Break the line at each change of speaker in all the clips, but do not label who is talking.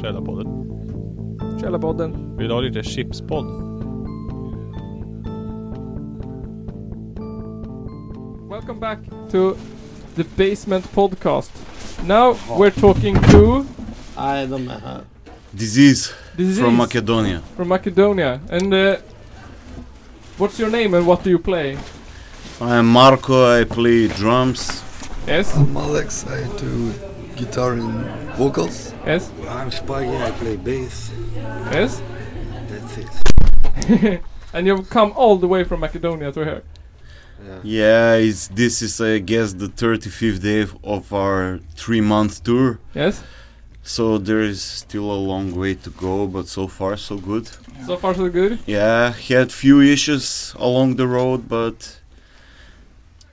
Källarpodden.
Källarpodden.
Vill du ha lite chipspodd?
Welcome back to the basement podcast. Now we're talking to
Nej, de är här.
Disease
disease
from Macedonia.
from Macedonia. And uh, what's your name and what do you play?
I am Marco, I play drums.
Yes,
I'm Alex, I do guitar and vocals.
yes,
I'm Spaggy, I play bass.
yes.
That's it.
And you've come all the way from Macedonia to here.
Yeah, it's, this is I guess the 35th day of our three month tour.
Yes.
So there is still a long way to go, but so far so good.
So far so good.
Yeah, had few issues along the road, but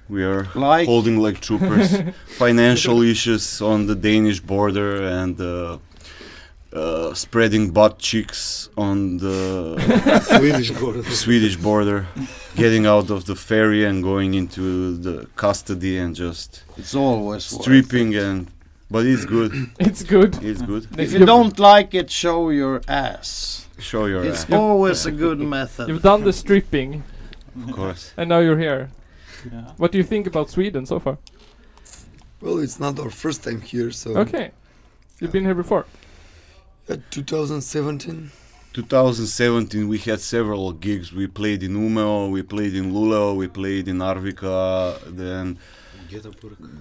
we are
Like,
holding like troopers. Financial issues on the Danish border and uh, uh, spreading butt cheeks on the
Swedish border.
Swedish border, getting out of the ferry and going into the custody and just
it's always worth.
stripping and. But it's good.
It's good.
It's good.
They-
If you don't like it, show your ass.
Show your
It's
ass,
always a good
You've
method.
done the stripping
of course.
and now you're here.
Yeah.
What do you think about Sweden so far?
Well, it's not our first time here, so.
Okay. You've been here before.
Uh, 2017.
2017 we had several gigs. We played in Umeå, we played in Luleå, we played in Arvika, then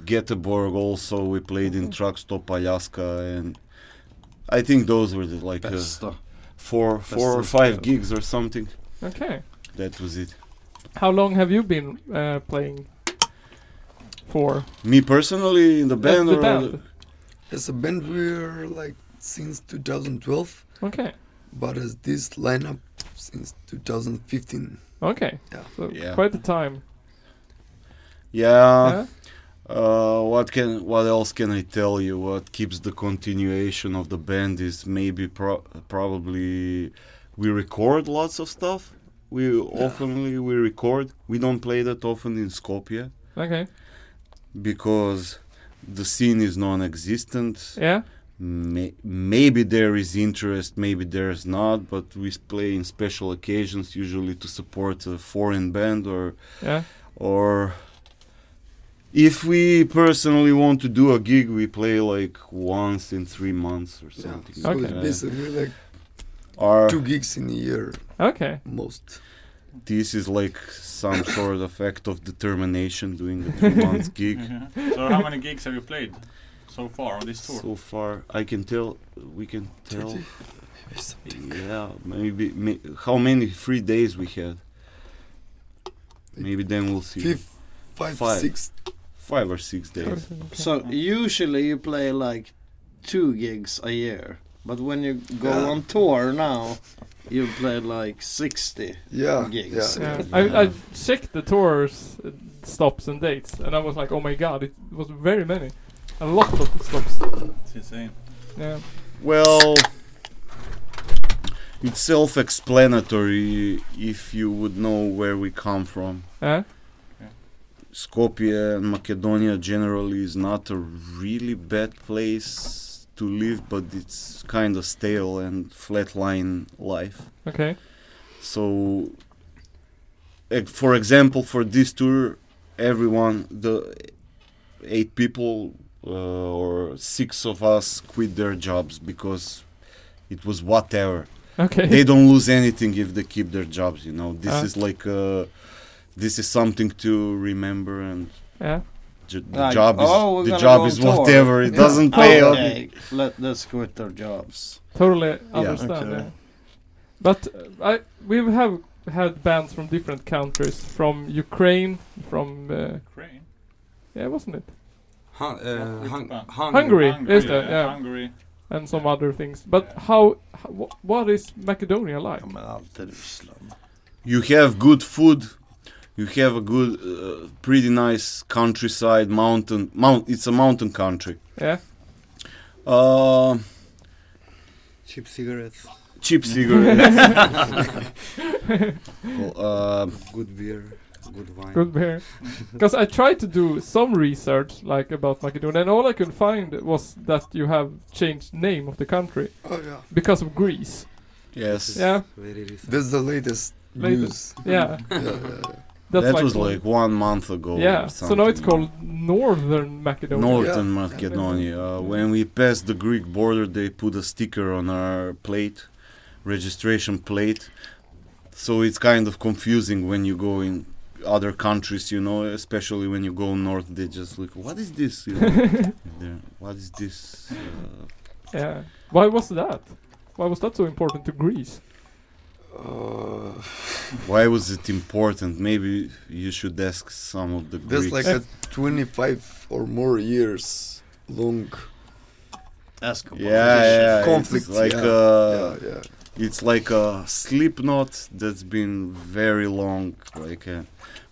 Göteborg also. We played in Truckstop, Alaska, and I think those were the, like uh,
Bästa.
four, four or
Best of
five
the-
gigs or something.
Okay.
That was it.
How long have you been uh, playing for?
Me personally in the
That's
band,
the
or
band.
As a band, we're like since 2012,
Okay.
but as this lineup since 2015.
Okay.
Yeah.
So
Yeah.
quite the time.
yeah.
yeah?
Uh, what can what else can I tell you? What keeps the continuation of the band is maybe pro- probably we record lots of stuff. We oftenly we record. We don't play that often in Skopje
Okay.
because the scene is non-existent.
Yeah.
May- maybe there is interest, maybe there's not. But we s- play in special occasions, usually to support a foreign band or
Yeah.
or if we personally want to do a gig, we play like once in three months or
Yeah.
something.
So
Okay.
it's basically like
Or
two gigs in a year,
Okay.
most.
this is like some sort of act of determination doing a three month
Mm-hmm.
gig.
Mm-hmm. So how many gigs have you played so far on this tour?
So far, I can tell. We can tell.
30, maybe something.
Yeah, maybe. May, how many free days we had? Maybe then we'll see.
Fif- five,
Five.
six.
Five or six days.
So usually you play like two gigs a year, but when you go
Yeah.
on tour now, you play like 60.
Yeah.
Gigs.
yeah.
Yeah. I, I checked the tours uh, stops and dates and I was like, oh my god, it was very many. A lot of stops.
It's insane.
Yeah.
Well, it's self explanatory if you would know where we come from.
Yeah.
Skopje and Macedonia generally is not a really bad place to live, but it's kind of stale and flatline life.
Okay.
So, ex- for example, for this tour, everyone, the eight people uh, or six of us quit their jobs because it was whatever.
Okay.
they don't lose anything if they keep their jobs, you know. This
Ah.
is like, uh, this is something to remember and.
yeah.
J- the
Like,
job is
oh, we're
the
gonna
job
go
is
on tour. Oh,
whatever. It
Yeah.
doesn't pay off.
Okay, let, let's quit our jobs.
Totally understand.
Okay.
Yeah. But uh, I we have had bands from different countries, from Ukraine, from uh,
Ukraine.
yeah, wasn't it?
Hun- uh, hung-
Japan.
hungry.
Hungary, is that? Yeah.
Hungary.
and some other things. But how? how wh- what is Macedonia like?
Ja, men alltid Ryssland.
You have good food. You have a good, uh, pretty nice countryside, mountain. Mount. It's a mountain country.
Yeah.
Uh,
Cheap cigarettes.
cheap cigarettes. Well, uh,
Good beer.
Good wine.
Good beer. Because I tried to do some research like about Macedonia, and all I could find was that you have changed name of the country
Oh yeah,
because of Greece.
Yes.
Yeah.
Very recent.
that's the latest,
Latest. Yeah,
news. Yeah, yeah, yeah.
that's
that
my
was
point.
like one month ago. or
yeah. So now it's
something.
called Northern Macedonia.
Northern
Yeah.
Macedonia. Uh, when we passed the Greek border, they put a sticker on our plate, registration plate. So it's kind of confusing when you go in other countries, you know, especially when you go north, they just look, what is this? You know, there, what is this? Uh,
Yeah. Why was that? Why was that so important to Greece?
Uh,
why was it important? Maybe you should ask some of the
that's
Greeks.
like a 25 or more years long.
Ask
yeah, yeah, it's
Conflict,
like
yeah,
uh,
yeah, yeah.
It's like a Slipknot that's been very long. Like uh,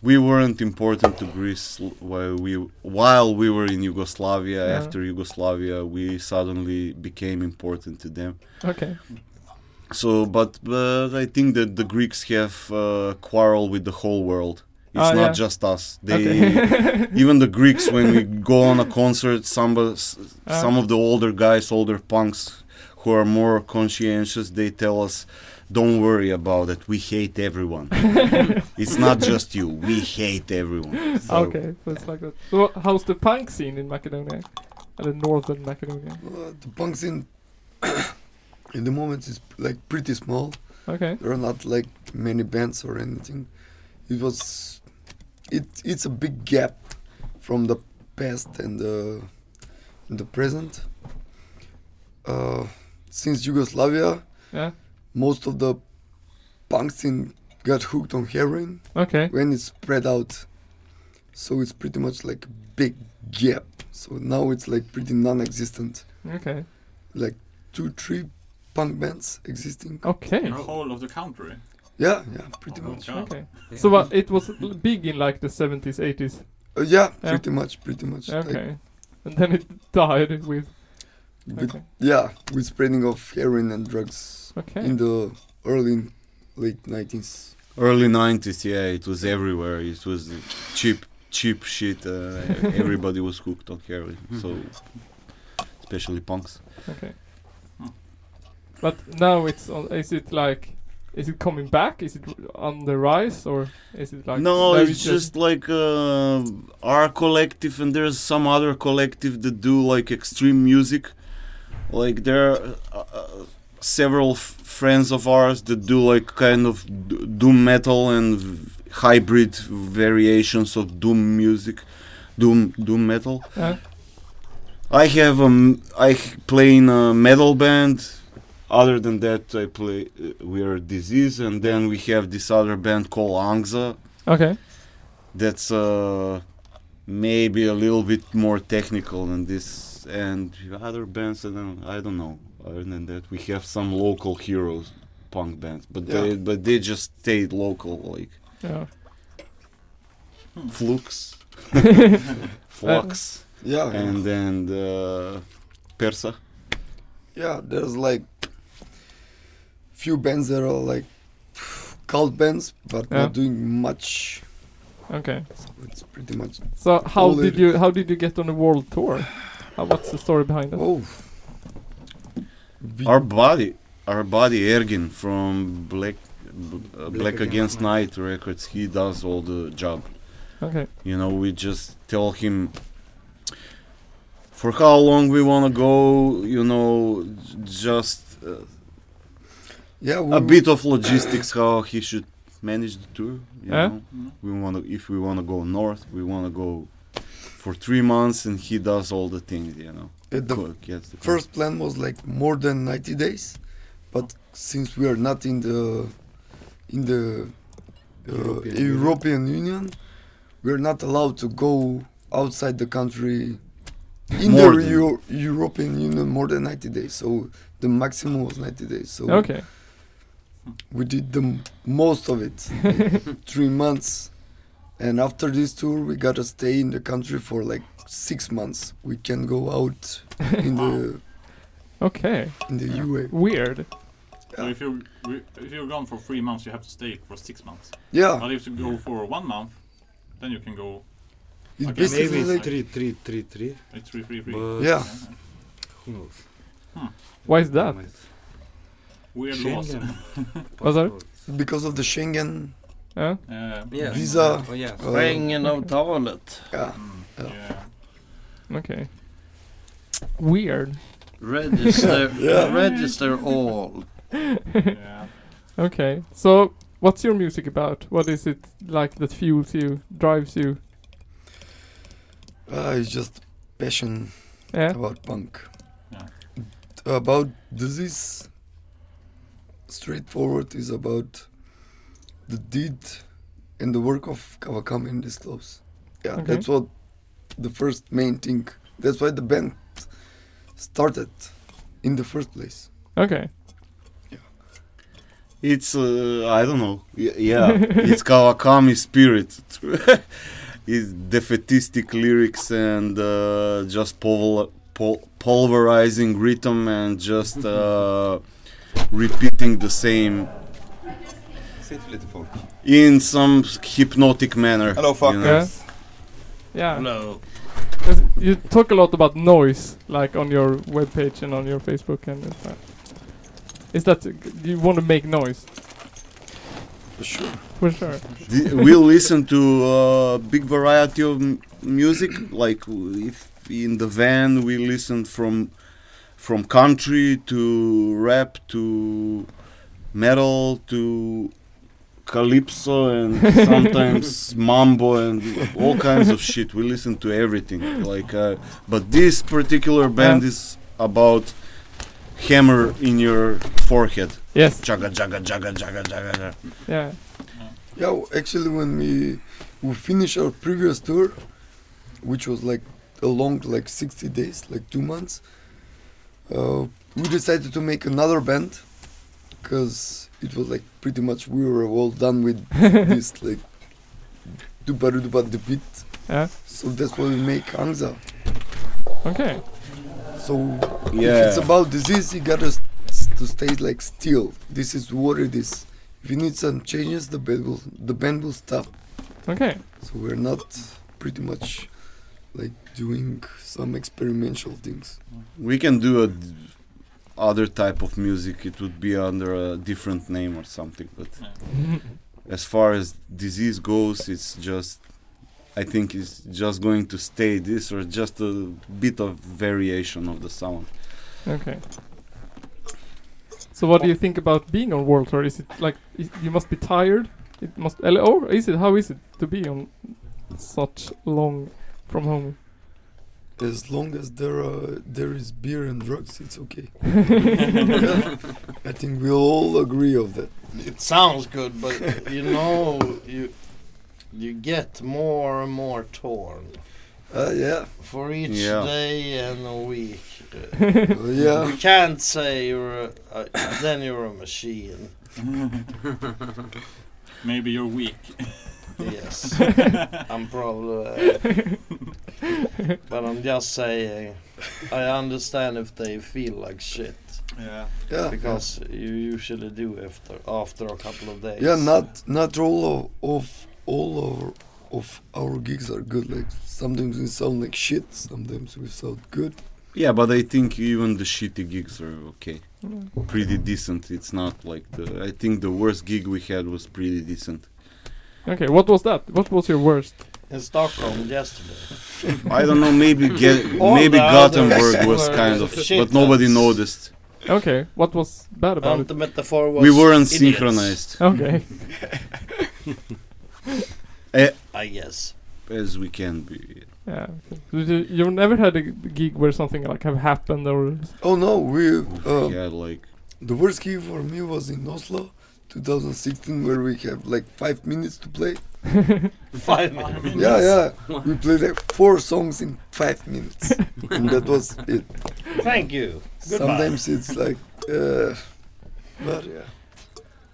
we weren't important to Greece l- while we while we were in Yugoslavia.
Yeah.
After Yugoslavia, we suddenly became important to them.
Okay.
So, but but I think that the Greeks have uh, quarrel with the whole world. It's
Ah,
not
yeah.
just us. They
Okay.
even the Greeks when we go on a concert, some s-
Ah.
some of the older guys, older punks who are more conscientious, they tell us, "Don't worry about it. We hate everyone. it's not just you. We hate everyone." So,
okay. So it's like that. So how's the punk scene in Macedonia? Uh, the Northern Macedonia.
Uh, the punk scene in the moment is like pretty small.
Okay.
There are not like many bands or anything. It was, it it's a big gap from the past and the and the present. Uh, since Yugoslavia,
Yeah.
most of the punk scene got hooked on heroin
Okay.
when it spread out. So it's pretty much like a big gap. So now it's like pretty non-existent.
Okay.
Like two, three punk bands existing.
Okay.
The whole of the country.
Yeah, yeah, pretty
Oh my
much.
God.
Okay. So what? It was l- big in like the 70s, 80s.
Uh,
Yeah.
yeah, pretty much, pretty much. Like,
Okay. And then it died with.
with-
Okay.
Yeah, with spreading of heroin and drugs
Okay.
in the early, late 90s.
early '90s, yeah, it was everywhere. It was cheap, cheap shit. Uh, everybody was hooked on heroin. So, especially punks.
Okay. But now it's on. Is it like? Is it coming back? Is it on the rise or is it like?
no,
there
it's
is
just, like uh, our collective, and there's some other collective that do like extreme music. Like there are uh, uh, several f- friends of ours that do like kind of d- doom metal and v- hybrid variations of doom music, doom doom metal.
Yeah.
I have um, I h- play in a metal band. Other than that, I play. Uh, we are disease, and then we have this other band called Angza
Okay.
that's uh, maybe a little bit more technical than this and other bands. I don't, I don't know. Other than that, we have some local heroes, punk bands, but they but they just stayed local, like
Yeah.
Flux, Flux,
Yeah,
and then uh, Persa.
yeah, there's like few bands that are like cult bands, but
Yeah.
not doing much.
Okay.
It's pretty much
So how
All
did
the-
you how did you get on a world tour? How, what's the story behind that?
Oh. Be-
Our body, our body, Ergin from Black B- uh, Black Against Night Records. He does all the job.
Okay.
You know, we just tell him for how long we want to go, you know, j- just uh,
yeah, we,
a bit of logistics how he should manage the tour, you
Yeah.
know.
Mhm.
We want to if we want to go north, we want to go for 3 months and he does all the things, you know.
At the
Cook, gets the cook.
first plan was like more than 90 days, but since we are not in the in the uh,
European
European,
Union.
Union, we are not allowed to go outside the country in
More
the
than-
Eu- European Union more than 90 days. So the maximum was 90 days. So
Okay.
we did the m- most of it three months and after this tour we gotta stay in the country for like six months we can go out in the
Okay.
in the ua
Weird.
So if you if you're gone for three months, you have to stay for six months.
Ah. yeah
But if you go for one month, Then you can go
It's
Okay,
basically
maybe it's
like
like-
three, three, three, three.
it's free, free, free.
But
Yeah.
Who knows?
Why is that?
Weird laws.
Schengen.
Was that it?
because of the Schengen.
Yeah.
Uh,
Yeah.
Visa.
Oh, yeah.
Uh,
Schengenavtalet.
Yeah.
mm,
Yeah.
yeah.
Okay. Weird.
Register,
Yeah.
register all.
yeah.
Okay. So, what's your music about? What is it like that fuels you, drives you?
Uh, it's just passion
Yeah.
about punk.
Yeah.
About disease. Straightforward is about the deed and the work of Kawakami in this close. Yeah,
Okay.
that's what the first main thing. That's why the band started in the first place.
Okay.
It's uh, I don't know. Y- yeah, it's Kawakami spirit. it's defeatistic lyrics and uh, just pulver- pul- pulverizing rhythm and just uh, repeating the same
Säg till lite folk.
in some hypnotic manner.
Hello,
you know.
Yeah.
fuckers.
Yeah.
Hello.
'Cause You talk a lot about noise, like on your webpage and on your Facebook and it's like- Is that you want to make noise?
For sure.
For sure.
Th- we listen to a big variety of m- music like w- if in the van we listen from from country to rap to metal to calypso and sometimes mambo and all kinds of shit we listen to everything like uh, but this particular band is about hammer in your forehead
Yes.
jaga jaga jaga jaga jaga jaga.
Yeah.
Yeah, w- actually, when we we finished our previous tour, which was like a long, like sixty days, like two months, uh, we decided to make another band because it was like pretty much we were all done with this like dupa dupa the beat.
Yeah.
So that's why we make Angza.
Okay.
So
yeah
if it's about disease, you gotta s- s- to stay like still. This is what it is. If you need some changes, the band will the band will stop.
Okay.
So we're not pretty much like doing some experimental things.
We can do a d- other type of music. It would be under a different name or something. But as far as disease goes, it's just. I think it's just going to stay this, or just a bit of variation of the sound.
Okay. So what do you think about being on world tour? Is it like i you must be tired? It must. Eller, or is it? How is it to be on such long from home?
As long as there are there is beer and drugs, it's okay. I think we all agree of that.
It sounds good, but you know, you you get more and more torn
Uh, yeah,
for each
Yeah.
day and a week. Uh,
uh, yeah.
You can't say you're a, uh, then you're a machine.
Maybe you're weak.
Yes, I'm probably, uh, but I'm just saying. I understand if they feel like shit
Yeah.
yeah.
because you usually do after after a couple of days.
yeah, not not all of, of all of of our gigs are good. Like sometimes we sound like shit, sometimes we sound good.
Yeah, but I think even the shitty gigs are okay,
Mm.
pretty decent. It's not like the. I think the worst gig we had was pretty decent.
Okay. What was that? What was your worst?
in Stockholm yesterday.
I don't know. Maybe get
All
maybe
the others
Gothenburg was
were
kind of,
shit
but nobody
ones.
noticed.
Okay. What was bad about
And
it?
Um, the metaphor was
We weren't
idiots,
synchronized.
Okay.
I guess.
as we can be.
Yeah. Okay. So you, you never had a g- gig where something like have happened or
Oh no, we uh,
yeah, like
The worst gig for me was in Oslo, 2016, where we have like five minutes to play.
Five minutes.
Yeah, yeah. We played like four songs in five minutes, and that was it.
Thank you. Goodbye.
Sometimes it's like, uh, but yeah,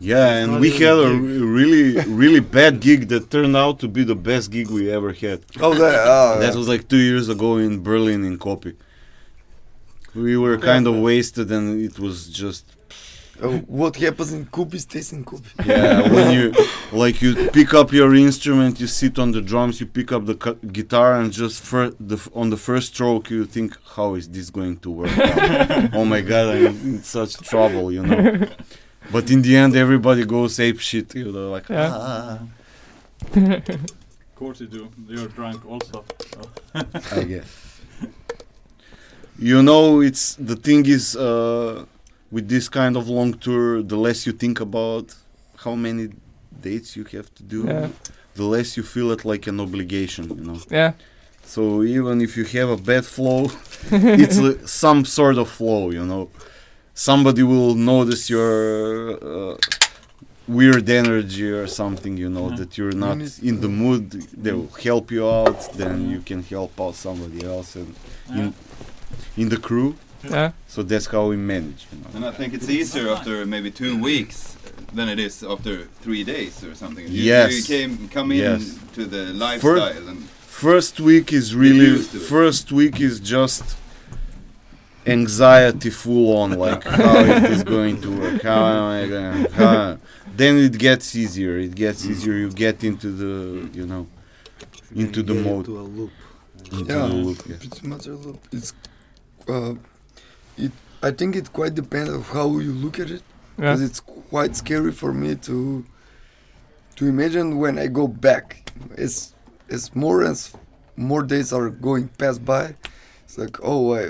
yeah,
It's
and
not
we
even
had
a
a re- really really bad gig that turned out to be the best gig we ever had.
oh, that, ah,
That was like two years ago in Berlin in Kopi. We were kind of wasted, and it was just
Uh, what happens in Kubi stays in Kubi.
Yeah, when you like you pick up your instrument, you sit on the drums, you pick up the cu- guitar, and just fir- the f- on the first stroke, you think, how is this going to work? out? oh my god, I'm in such trouble, you know. But in the end, everybody goes ape shit, you know, like
Yeah.
ah,
Of course you do. You're drunk also.
I guess. You know, it's the thing is uh, with this kind of long tour, the less you think about how many dates you have to do.
Yeah.
the less you feel it like an obligation, you know.
Yeah.
So even if you have a bad flow, it's li- some sort of flow, you know. Somebody will notice your uh, weird energy or something, you know,
Mhm.
that you're not
need-
in the mood. They will help you out, then you can help out somebody else and
Yeah.
in, in the crew.
Yeah.
So that's how we manage, you know.
And I think it's easier after maybe two weeks than it is after three days or something. You,
Yes.
You came, come in
Yes.
to the lifestyle and
First week is really
used to it.
first week is just anxiety full on like how it is going to work how am I gonna how then it gets easier it gets
Mm.
easier you get into the you know Into the
Get
mode.
Into a loop.
into
Yeah.
the loop yeah.
Pretty much a lot. It's, uh, it. I think it quite depends on how you look at it.
Yeah.
Because it's quite scary for me to to imagine when I go back. It's it's more and s- more days are going past by. It's like oh, I,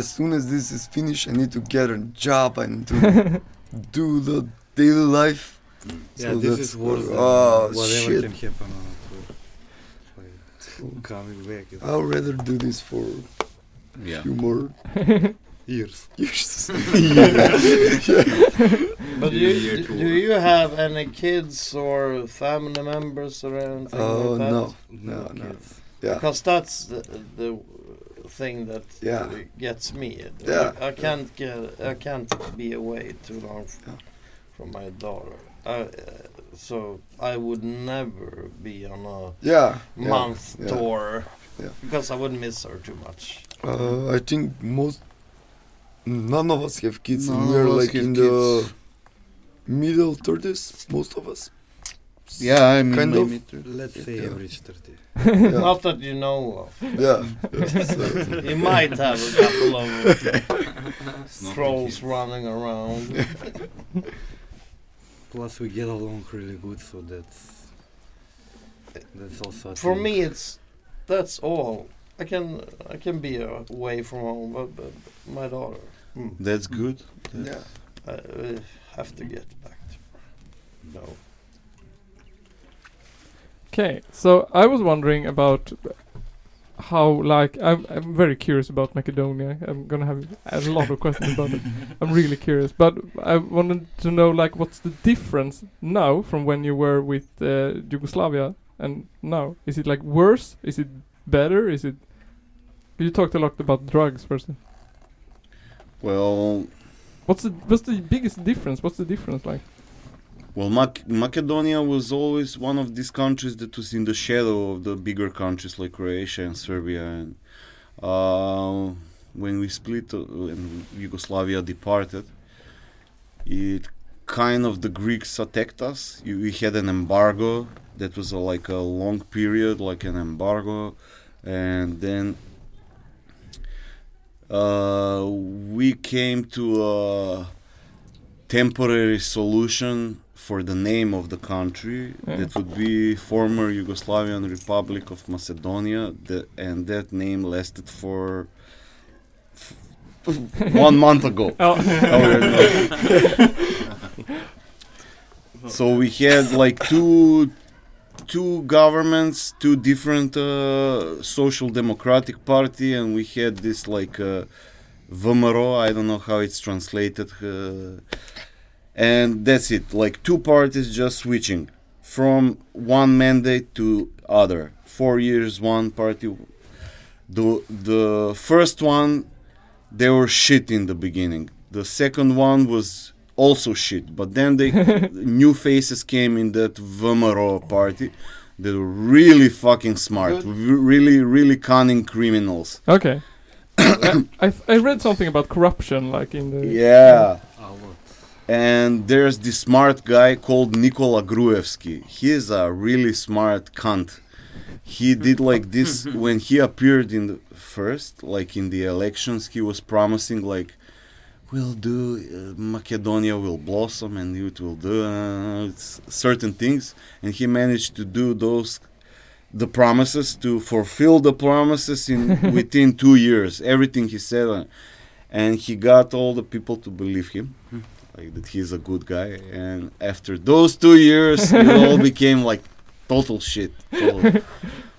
as soon as this is finished, I need to get a job and to do the daily life.
Yeah,
So
this
that's-
is worse than
oh,
whatever
shit.
can happen on a tour. Like, coming back is
I'd rather do this for
yeah
few more
years.
years.
But do
Year-
you,
year
do,
tour.
do you have any kids or family members or anything
Oh
like that?
no,
No,
No, no.
kids.
yeah.
Because that's the, the thing that
Yeah.
gets me.
Yeah.
I, I can't get, I can't be away too long f-
Yeah.
from my daughter. I, uh, so I would never be on a
Yeah, yeah.
month
yeah.
tour
Yeah.
because I would miss her too much.
Uh, I think most none of us have kids,
None
and we're
of us
like
have
in the middle thirties, most of us.
yeah I mean
Kind of.
maybe too.
Let's say
Yeah.
average 30.
Yeah,
Not that you know of.
yeah.
You might have a couple of
not
trolls
kids.
running around.
Plus, we get along really good, so that's that's also. a
For
thing.
me, it's that's all. I can I can be away from home, but, but my daughter, mm,
that's good
yeah.
I uh, have to get back. To her. No,
Okay, so I was wondering about how, like, I'm, I'm very curious about Macedonia. I'm gonna have a lot of questions about it. I'm really curious, but I wanted to know, like, what's the difference now from when you were with uh, Yugoslavia and now? Is it like worse? Is it better? Is it? You talked a lot about drugs, first.
well
What's the what's the biggest difference? What's the difference like?
Well, Mac- Macedonia was always one of these countries that was in the shadow of the bigger countries like Croatia and Serbia. And uh, when we split uh, and Yugoslavia departed, it kind of the Greeks attacked us. You- We had an embargo that was a, like a long period, like an embargo, and then uh, we came to. Uh, temporary solution for the name of the country
Yeah.
that would be former Yugoslavian Republic of Macedonia the, and that name lasted for f- one month ago
Oh,
Oh, yeah, no. so we had like two two governments two different uh, social democratic party and we had this like uh, VMRO I don't know how it's translated uh, and that's it like two parties just switching from one mandate to other four years one party the the first one they were shit in the beginning. The second one was also shit, but then they new faces came in that Vomero party. They were really fucking smart, re- really, really cunning criminals.
okay. I, I I read something about corruption, like in the
Yeah,
A lot.
and there's this smart guy called Nikola Gruevski. He's a really smart cunt. He did like this when he appeared in the first, like in the elections, he was promising like, "We'll do uh, Macedonia will blossom and it will do uh, s- certain things," and he managed to do those the promises to fulfill the promises in within two years. Everything he said, uh, and he got all the people to believe him like that he's a good guy and after those two years it all became like total shit total.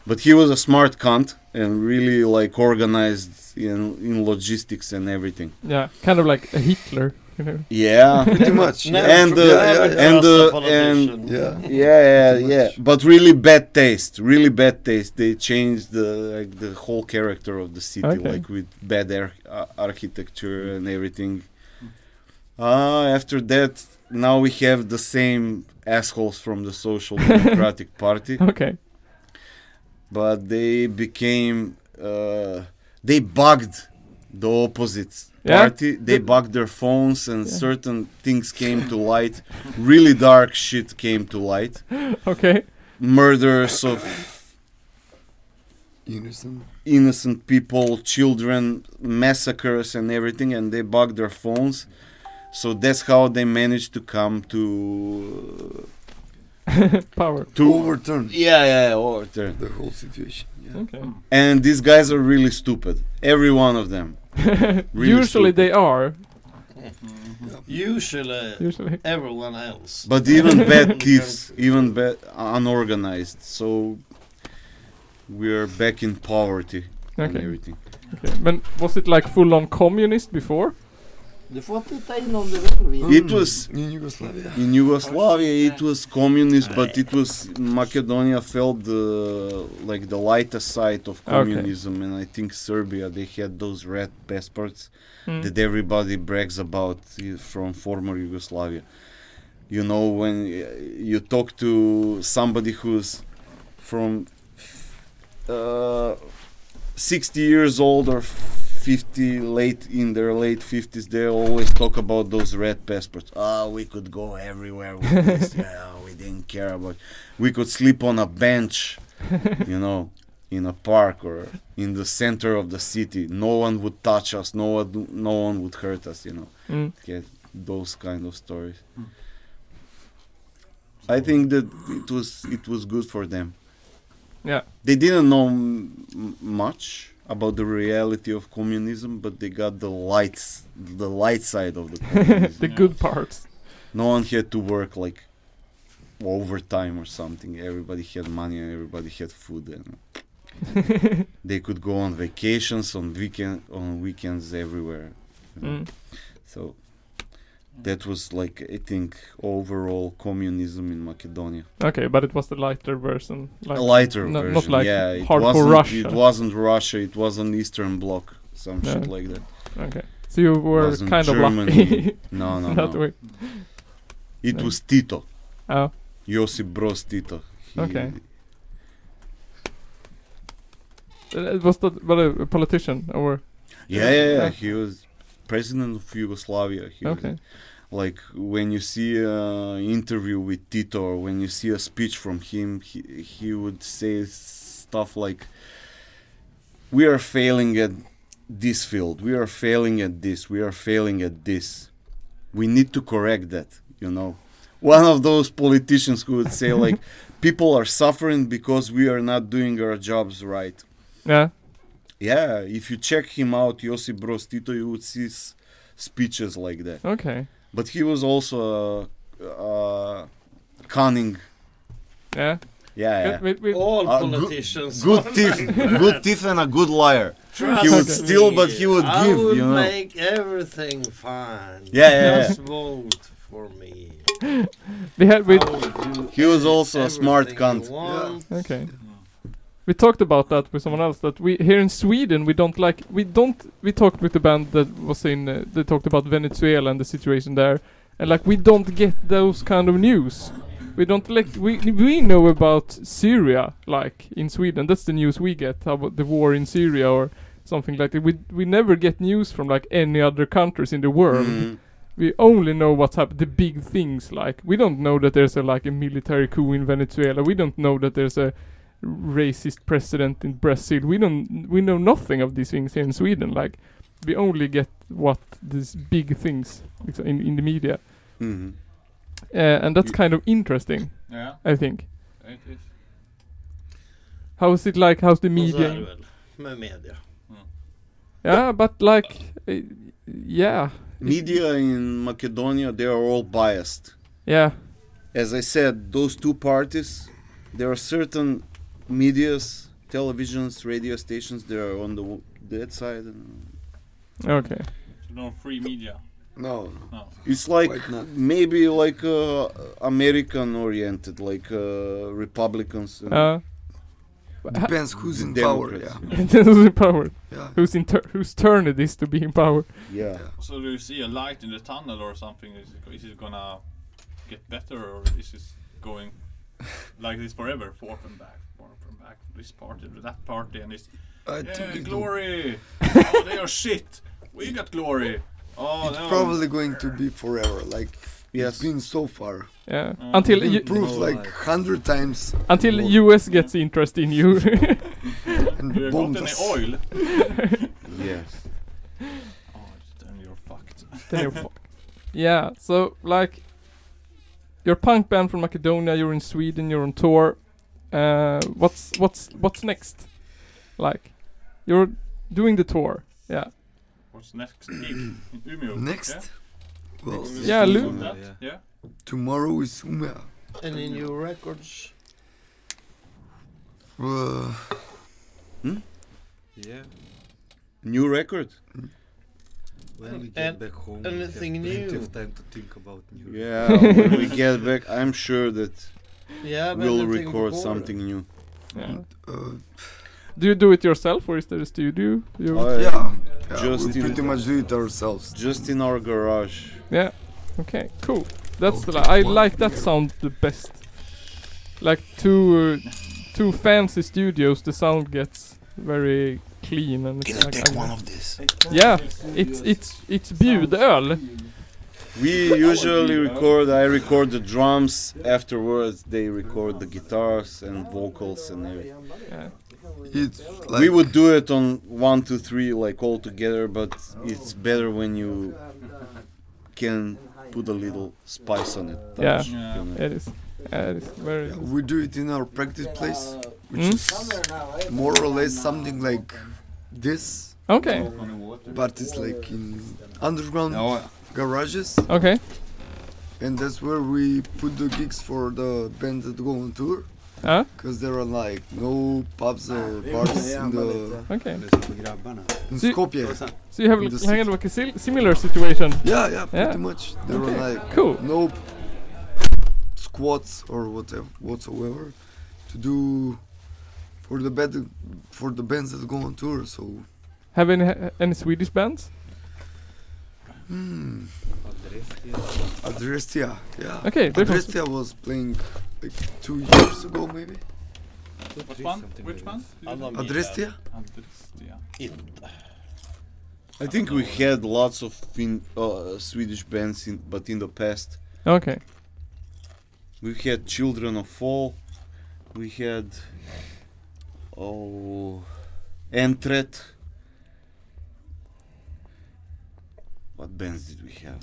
but he was a smart cunt and really like organized in in logistics and everything
Yeah, kind of like a Hitler, you know.
yeah
Pretty much.
Never
yeah.
And,
tr-
uh,
never
yeah, and,
trust a
uh, and-
politician.
yeah.
yeah yeah
Pretty
yeah
much.
but really bad taste really bad taste they changed the like the whole character of the city
Okay.
like with bad ar- uh, architecture and everything uh, after that now we have the same assholes from the social democratic party
Okay.
but they became uh, they bugged the opposite
Yeah.
party they
The-
bugged their phones and
Yeah.
certain things came to light really dark shit came to light
Okay.
murders of
Innocent.
innocent people children massacres and everything and they bugged their phones so that's how they managed to come to
Power.
to
Overturn
yeah yeah, yeah overturn
the whole situation. Yeah.
Okay.
Hmm.
and these guys are really stupid every one of them Really
Usually
stupid.
they are.
Usually
Usually.
everyone else.
But even bad thieves, even bad unorganized. So we're back in poverty and
Okay.
everything.
okay. But was it like full on communist before?
Det får inte ta in om det vill vi.
It was
in Yugoslavia.
in Yugoslavia. It was communist, but it was Macedonia felt the like the lighter side of communism, and I think Serbia they had those red passports
Mm.
that everybody brags about uh, from former Yugoslavia. You know, when uh, you talk to somebody who's from uh, 60 years old or 50, late in their late 50s, they always talk about those red passports. Ah, we could go everywhere with this. yeah, we didn't care about. We could sleep on a bench, you know, in a park or in the center of the city. No one would touch us. No one, no one would hurt us. You know,
Mm.
get those kind of stories. I think that it was it was good for them.
Yeah.
They didn't know m- m- much about the reality of communism, but they got the lights, the light side of the communism.
the good parts.
no one had to work like overtime or something. Everybody had money and everybody had food, and they could go on vacations on weekend on weekends everywhere. you know.
Mm.
So that was like I think overall communism in Macedonia.
Okay, but it was the lighter version. Like,
a lighter
no-
version.
not like
yeah, it
hardcore
wasn't,
Russia.
It wasn't Russia. It wasn't Eastern Bloc, some
Yeah.
shit like that.
okay. So you were
wasn't
kind of
Germany.
lucky
No, no,
that
no.
way.
It
No.
was Tito,
Oh,
Josip Broz Tito. He-
Okay. Uh, it was that but a, a politician or
Yeah, yeah, yeah.
Yeah.
He was president of Yugoslavia. He was-
okay.
like when you see an interview with Tito or when you see a speech from him, he, he would say stuff like, "We are failing at this field. We are failing at this. We are failing at this. We need to correct that." You know, one of those politicians who would say like, "People are suffering because we are not doing our jobs right."
Yeah.
Yeah, if you check him out, Josip Broz Tito, you would see s- speeches like that
Okay.
but he was also uh, uh, cunning.
Yeah.
Yeah, yeah.
With, with, with,
All
Uh, good-
politicians.
good thief, good thief, and a good liar.
Trust
He would
me,
steal, but he would
I
give,
will
you know.
make everything fine.
Yeah, yeah, yeah.
Just vote for me.
we had
Oh.
with
I will do
He was also a smart
everything
cunt.
you want.
Okay. We talked about that with someone else that we here in Sweden we don't like we don't we talked with the band that was in uh, they talked about Venezuela and the situation there and like we don't get those kind of news. We don't like we we know about Syria like in Sweden that's the news we get about the war in Syria or something like that. We we never get news from like any other countries in the world.
Mhm.
we only know what's happened, the big things like. We don't know that there's a like a military coup in Venezuela. We don't know that there's a racist president in Brazil. We don't we know nothing of these things here in Sweden. Like we only get what these big things like, in in the media.
Mhm.
Uh, and that's
Ye-
kind of interesting,
Yeah,
I think.
it is.
How is it like? How's the
Och så är
media?
det väl med media.
Yeah, but like, uh, yeah,
Media in Macedonia, they are all biased.
yeah,
As I said, those two parties, there are certain medias, televisions, radio stations, they are on the w- that side. And
okay.
So no free media.
No,
It's like
Quite not.
maybe like uh, American oriented, like uh, Republicans. and
Uh,
depends who's
the
in power. Yeah,
Democrats.
who's in power?
yeah.
Who's in tur- whose turn it is to be in power?
Yeah.
So do you see a light in the tunnel or something? Is it, is it gonna get better or is it going like this forever? Forth and back, forth and back. This party, to that party, and it's
I
yeah,
think it will-
glory. oh, they are shit. We got glory. Oh
it's
no.
probably going to be forever. Like
Yes.
it's been so far.
Yeah,
Mm.
until
It
you,
improved
No,
like
like-
hundred times
until
Well-
US gets interest in you.
Do you
and
got
bombed
any
us.
oil?
Yes.
Oh, then you're fucked.
Then you're fucked. Yeah, so like, you're a punk band from Macedonia. You're in Sweden. You're on tour. Uh, what's what's what's next? Like, you're doing the tour. Yeah.
What's next? Eve? Umeå. Yeah.
Next, well,
Next.
Yeah, Lu-
Something like that, Yeah.
tomorrow is Umea.
Any new records?
Uh,
Yeah.
New record?
When we get
And
back home,
anything
we have plenty
new?
of time to think about new.
Yeah. when we get back, I'm sure that
Yeah, men
we'll
jag tänker på
record
Polen.
something new.
yeah.
uh,
Do you do it yourself or is there a studio? You,
Uh,
yeah, yeah,
Just
we
in-
pretty much do it ourselves.
Just in our garage.
yeah. Okay. Cool. That's the
Oh,
li- I
wow.
like that sound the best. Like two uh, two fancy studios, the sound gets very clean and it's like, I-
of these?
Yeah, it's it's it's bjudöl.
We usually record, I record the drums, afterwards they record the guitars and vocals and everything.
Yeah.
It's like
We would do it on one, two, three, like all together, but it's better when you can put a little spice on it.
Yeah.
touch, you know.
It is. Yeah, it is very.
Yeah, we do it in our practice place, which
Mm.
is more or less something like this,
Okay.
but it's like in underground
Ja,
garages,
Okay.
and that's where we put the gigs for the band that go on tour.
Huh?
Because there are like no pubs or bars in, the,
Okay.
in
See-
Skopje.
So you have
In
like,
the
kind of like a sil- similar situation.
Yeah, yeah, pretty
Yeah.
much. There
Okay,
are like
cool.
no squats or whatever whatsoever to do for the band for the bands that go on tour. So
Have any ha- any Swedish bands?
hmm, Adrestia, yeah.
Okay, they're from
Adrestia was playing like two years ago maybe.
What one? Which one?
Alla mina
Adrestia.
Andrestia.
inte.
I think we had lots of fin- uh, Swedish bands, in, but in the past.
Okay.
We had Children of Fall. We had oh Entret. What bands did we have?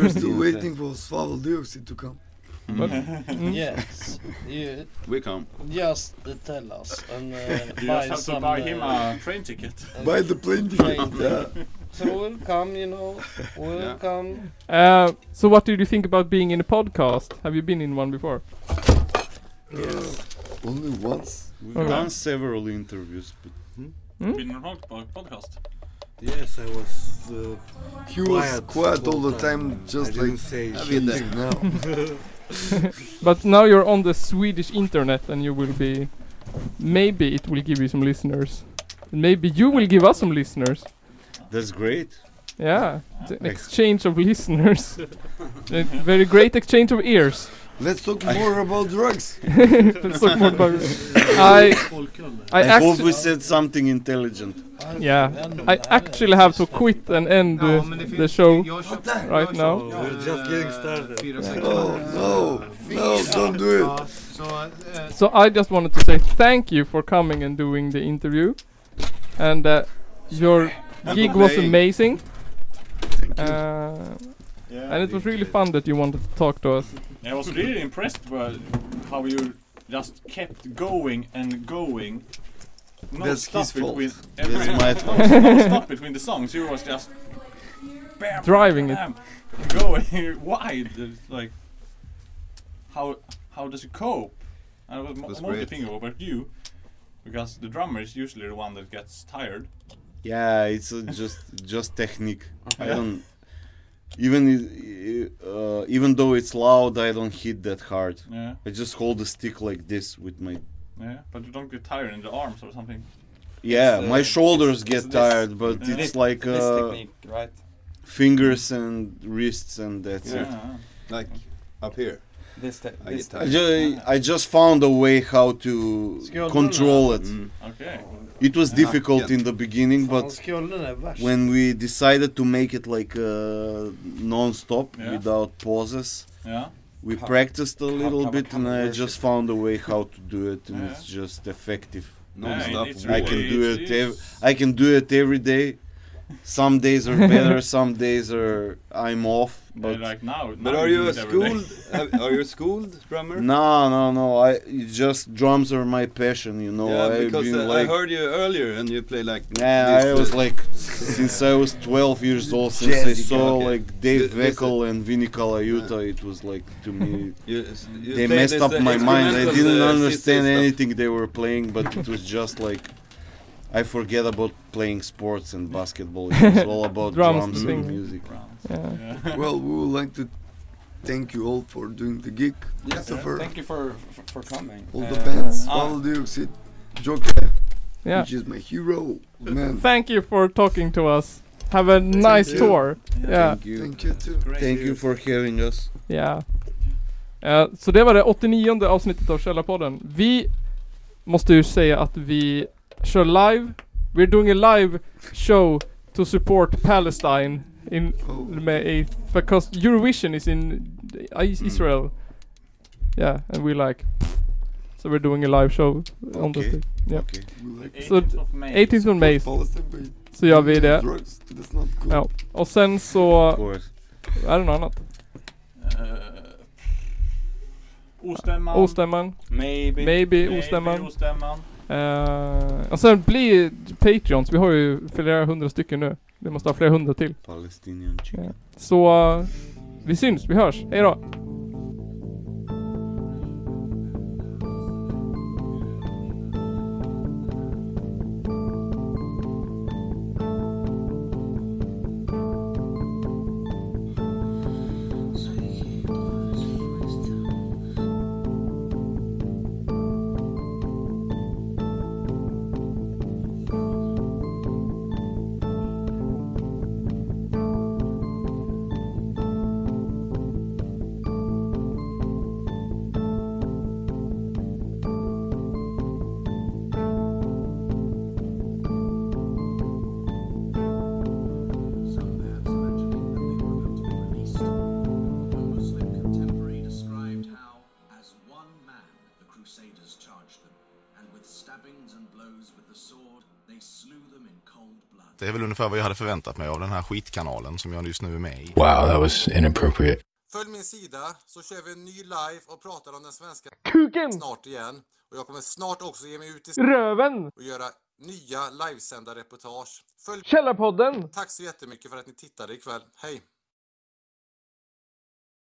We're still waiting for Svavel Dioxide to come.
But, mm,
Yes. You
we come.
just tell us and uh,
You just
buy
have to
some.
buy
uh,
him a train ticket.
By the plane
Plane
ticket. Yeah.
So we'll come, you know. We'll
Yeah.
come.
uh, so what did you think about being in a podcast? Have you been in one before?
Only once.
We've
Okay.
done several interviews, but
Been on pod- podcast.
Yes, I was. Uh,
He was
Quiet
quiet, all the
whole
time,
time.
just
I
like
didn't say
shit
shit.
now.
But now you're on the Swedish internet and you will be. Maybe it will give you some listeners. Maybe you will give us some listeners.
that's great.
Yeah, it's an exchange of listeners. a very great exchange of ears.
Let's talk more about drugs.
Let's talk more about. I I
I, hope we
actually
said something intelligent.
yeah I actually have to quit and end
Ja,
uh,
men det finns-
the show.
jag köpte- jag
right
köpte,
now.
eh,
We're just getting started.
Fyra
Oh
sekunder.
no, no, don't do it.
Ja, så, eh,
So uh, I just wanted to say thank you for coming and doing the interview, and uh, your gig was
playing.
amazing.
Thank you.
Uh, and it was really fun that you wanted to talk to us.
I was really impressed by how you just kept going and going. No
That's
stop
his fault.
between
That's
every-
my fault.
no stop between the songs. You was just bam,
Driving it.
bam, going wide. It's like how how does you cope? I was
That's
mo- mostly
great.
thinking about you because the drummer is usually the one that gets tired.
Yeah, it's uh, just just technique. I don't even i- i- uh, even though it's loud, I don't hit that hard.
Yeah,
I just hold the stick like this with my
yeah. But you don't get tired in the arms or something.
yeah.
It's, uh,
my shoulders get
it's this-
tired, but
Yeah.
it's like
this
uh,
technique, right?
fingers and wrists and that's it.
Yeah.
Like up here.
This, te-
I
this
get
I
tired.
just, I just found a way how to
Skål,
control it.
Mm.
Okay.
It was
Yeah.
difficult
Yeah.
in the beginning,
Fan,
but
skulden är värst.
when we decided to make it like uh, non-stop
Yeah.
without pauses,
Yeah.
we
How-
practiced a little
how-
bit
how
and I
worship.
just found a way how to do it and
Yeah.
it's just effective.
Non-stop
it's
I
war.
can
really-
do
it's-
it ev-
it's-
I can do it every day. Some days are better, some days are I'm off,
But
but
like now,
But
now
are
you
you a
do it every day.
schooled? have- are you a schooled drummer?
no, no, no. I it just drums are my passion, you know.
yeah,
I've
because
been
uh, I
like
heard you earlier and you play like.
Yeah, I
this,
was
uh,
like since I was 12 years old. Since I
Jazzy
saw
guy.
like Dave
Th- this
Veckel and Vinny Colaiuta, it was like to me
You, you
they
play
messed
this,
up
uh,
my mind. I
experimental,
didn't
uh,
understand
system.
anything they were playing, but it was just like I forget about playing sports and basketball. It was all about
Drums
drums,
and
and
things.
music.
Yeah.
Yeah.
Well, we would like to thank you all for doing the gig.
Yeah,
Christopher,
Thank you for for, for coming.
all the
Uh,
bands,
ah,
all the Dioxid, Joker,
Yeah.
which is my hero. Man,
Thank you for talking to us. Have a nice
you.
tour. Yeah.
Thank you.
thank you too.
Thank you for having us.
Ja. Eh, så det var det 89 avsnittet av Källarpodden. Vi måste ju säga att vi kör live. We're doing a live show to support Palestine in
Oh.
May 8th because Eurovision is in I- Israel. Yeah, and we like So we're doing a live show on the
Okay.
Yep.
Okay.
We like
So
18th of May.
18th of May
Palestine, but
så gör vi det.
Drugs, that's not cool.
Ja. Och sen så,
Of course.
är det något annat?
Eh, Ostämman.
Ostämman?
maybe.
Maybe
Maybe
Ostämman?
Ostämman.
Eh, och sen bli Patreons, vi har ju flera hundra stycken nu. Vi måste ha flera hundra till.
Palestinian chicken.
Så eh, vi syns, vi hörs. Hej då!
Det är väl ungefär vad jag hade förväntat mig av den här skitkanalen som jag just nu är med i.
Wow, that was inappropriate.
Följ min sida så kör vi en ny live och pratar om den svenska
Kuken!
snart igen. Och jag kommer snart också ge mig ut i
Röven!
och göra nya livesända reportage. Följ...
Källarpodden!
Tack så jättemycket för att ni tittade ikväll. Hej!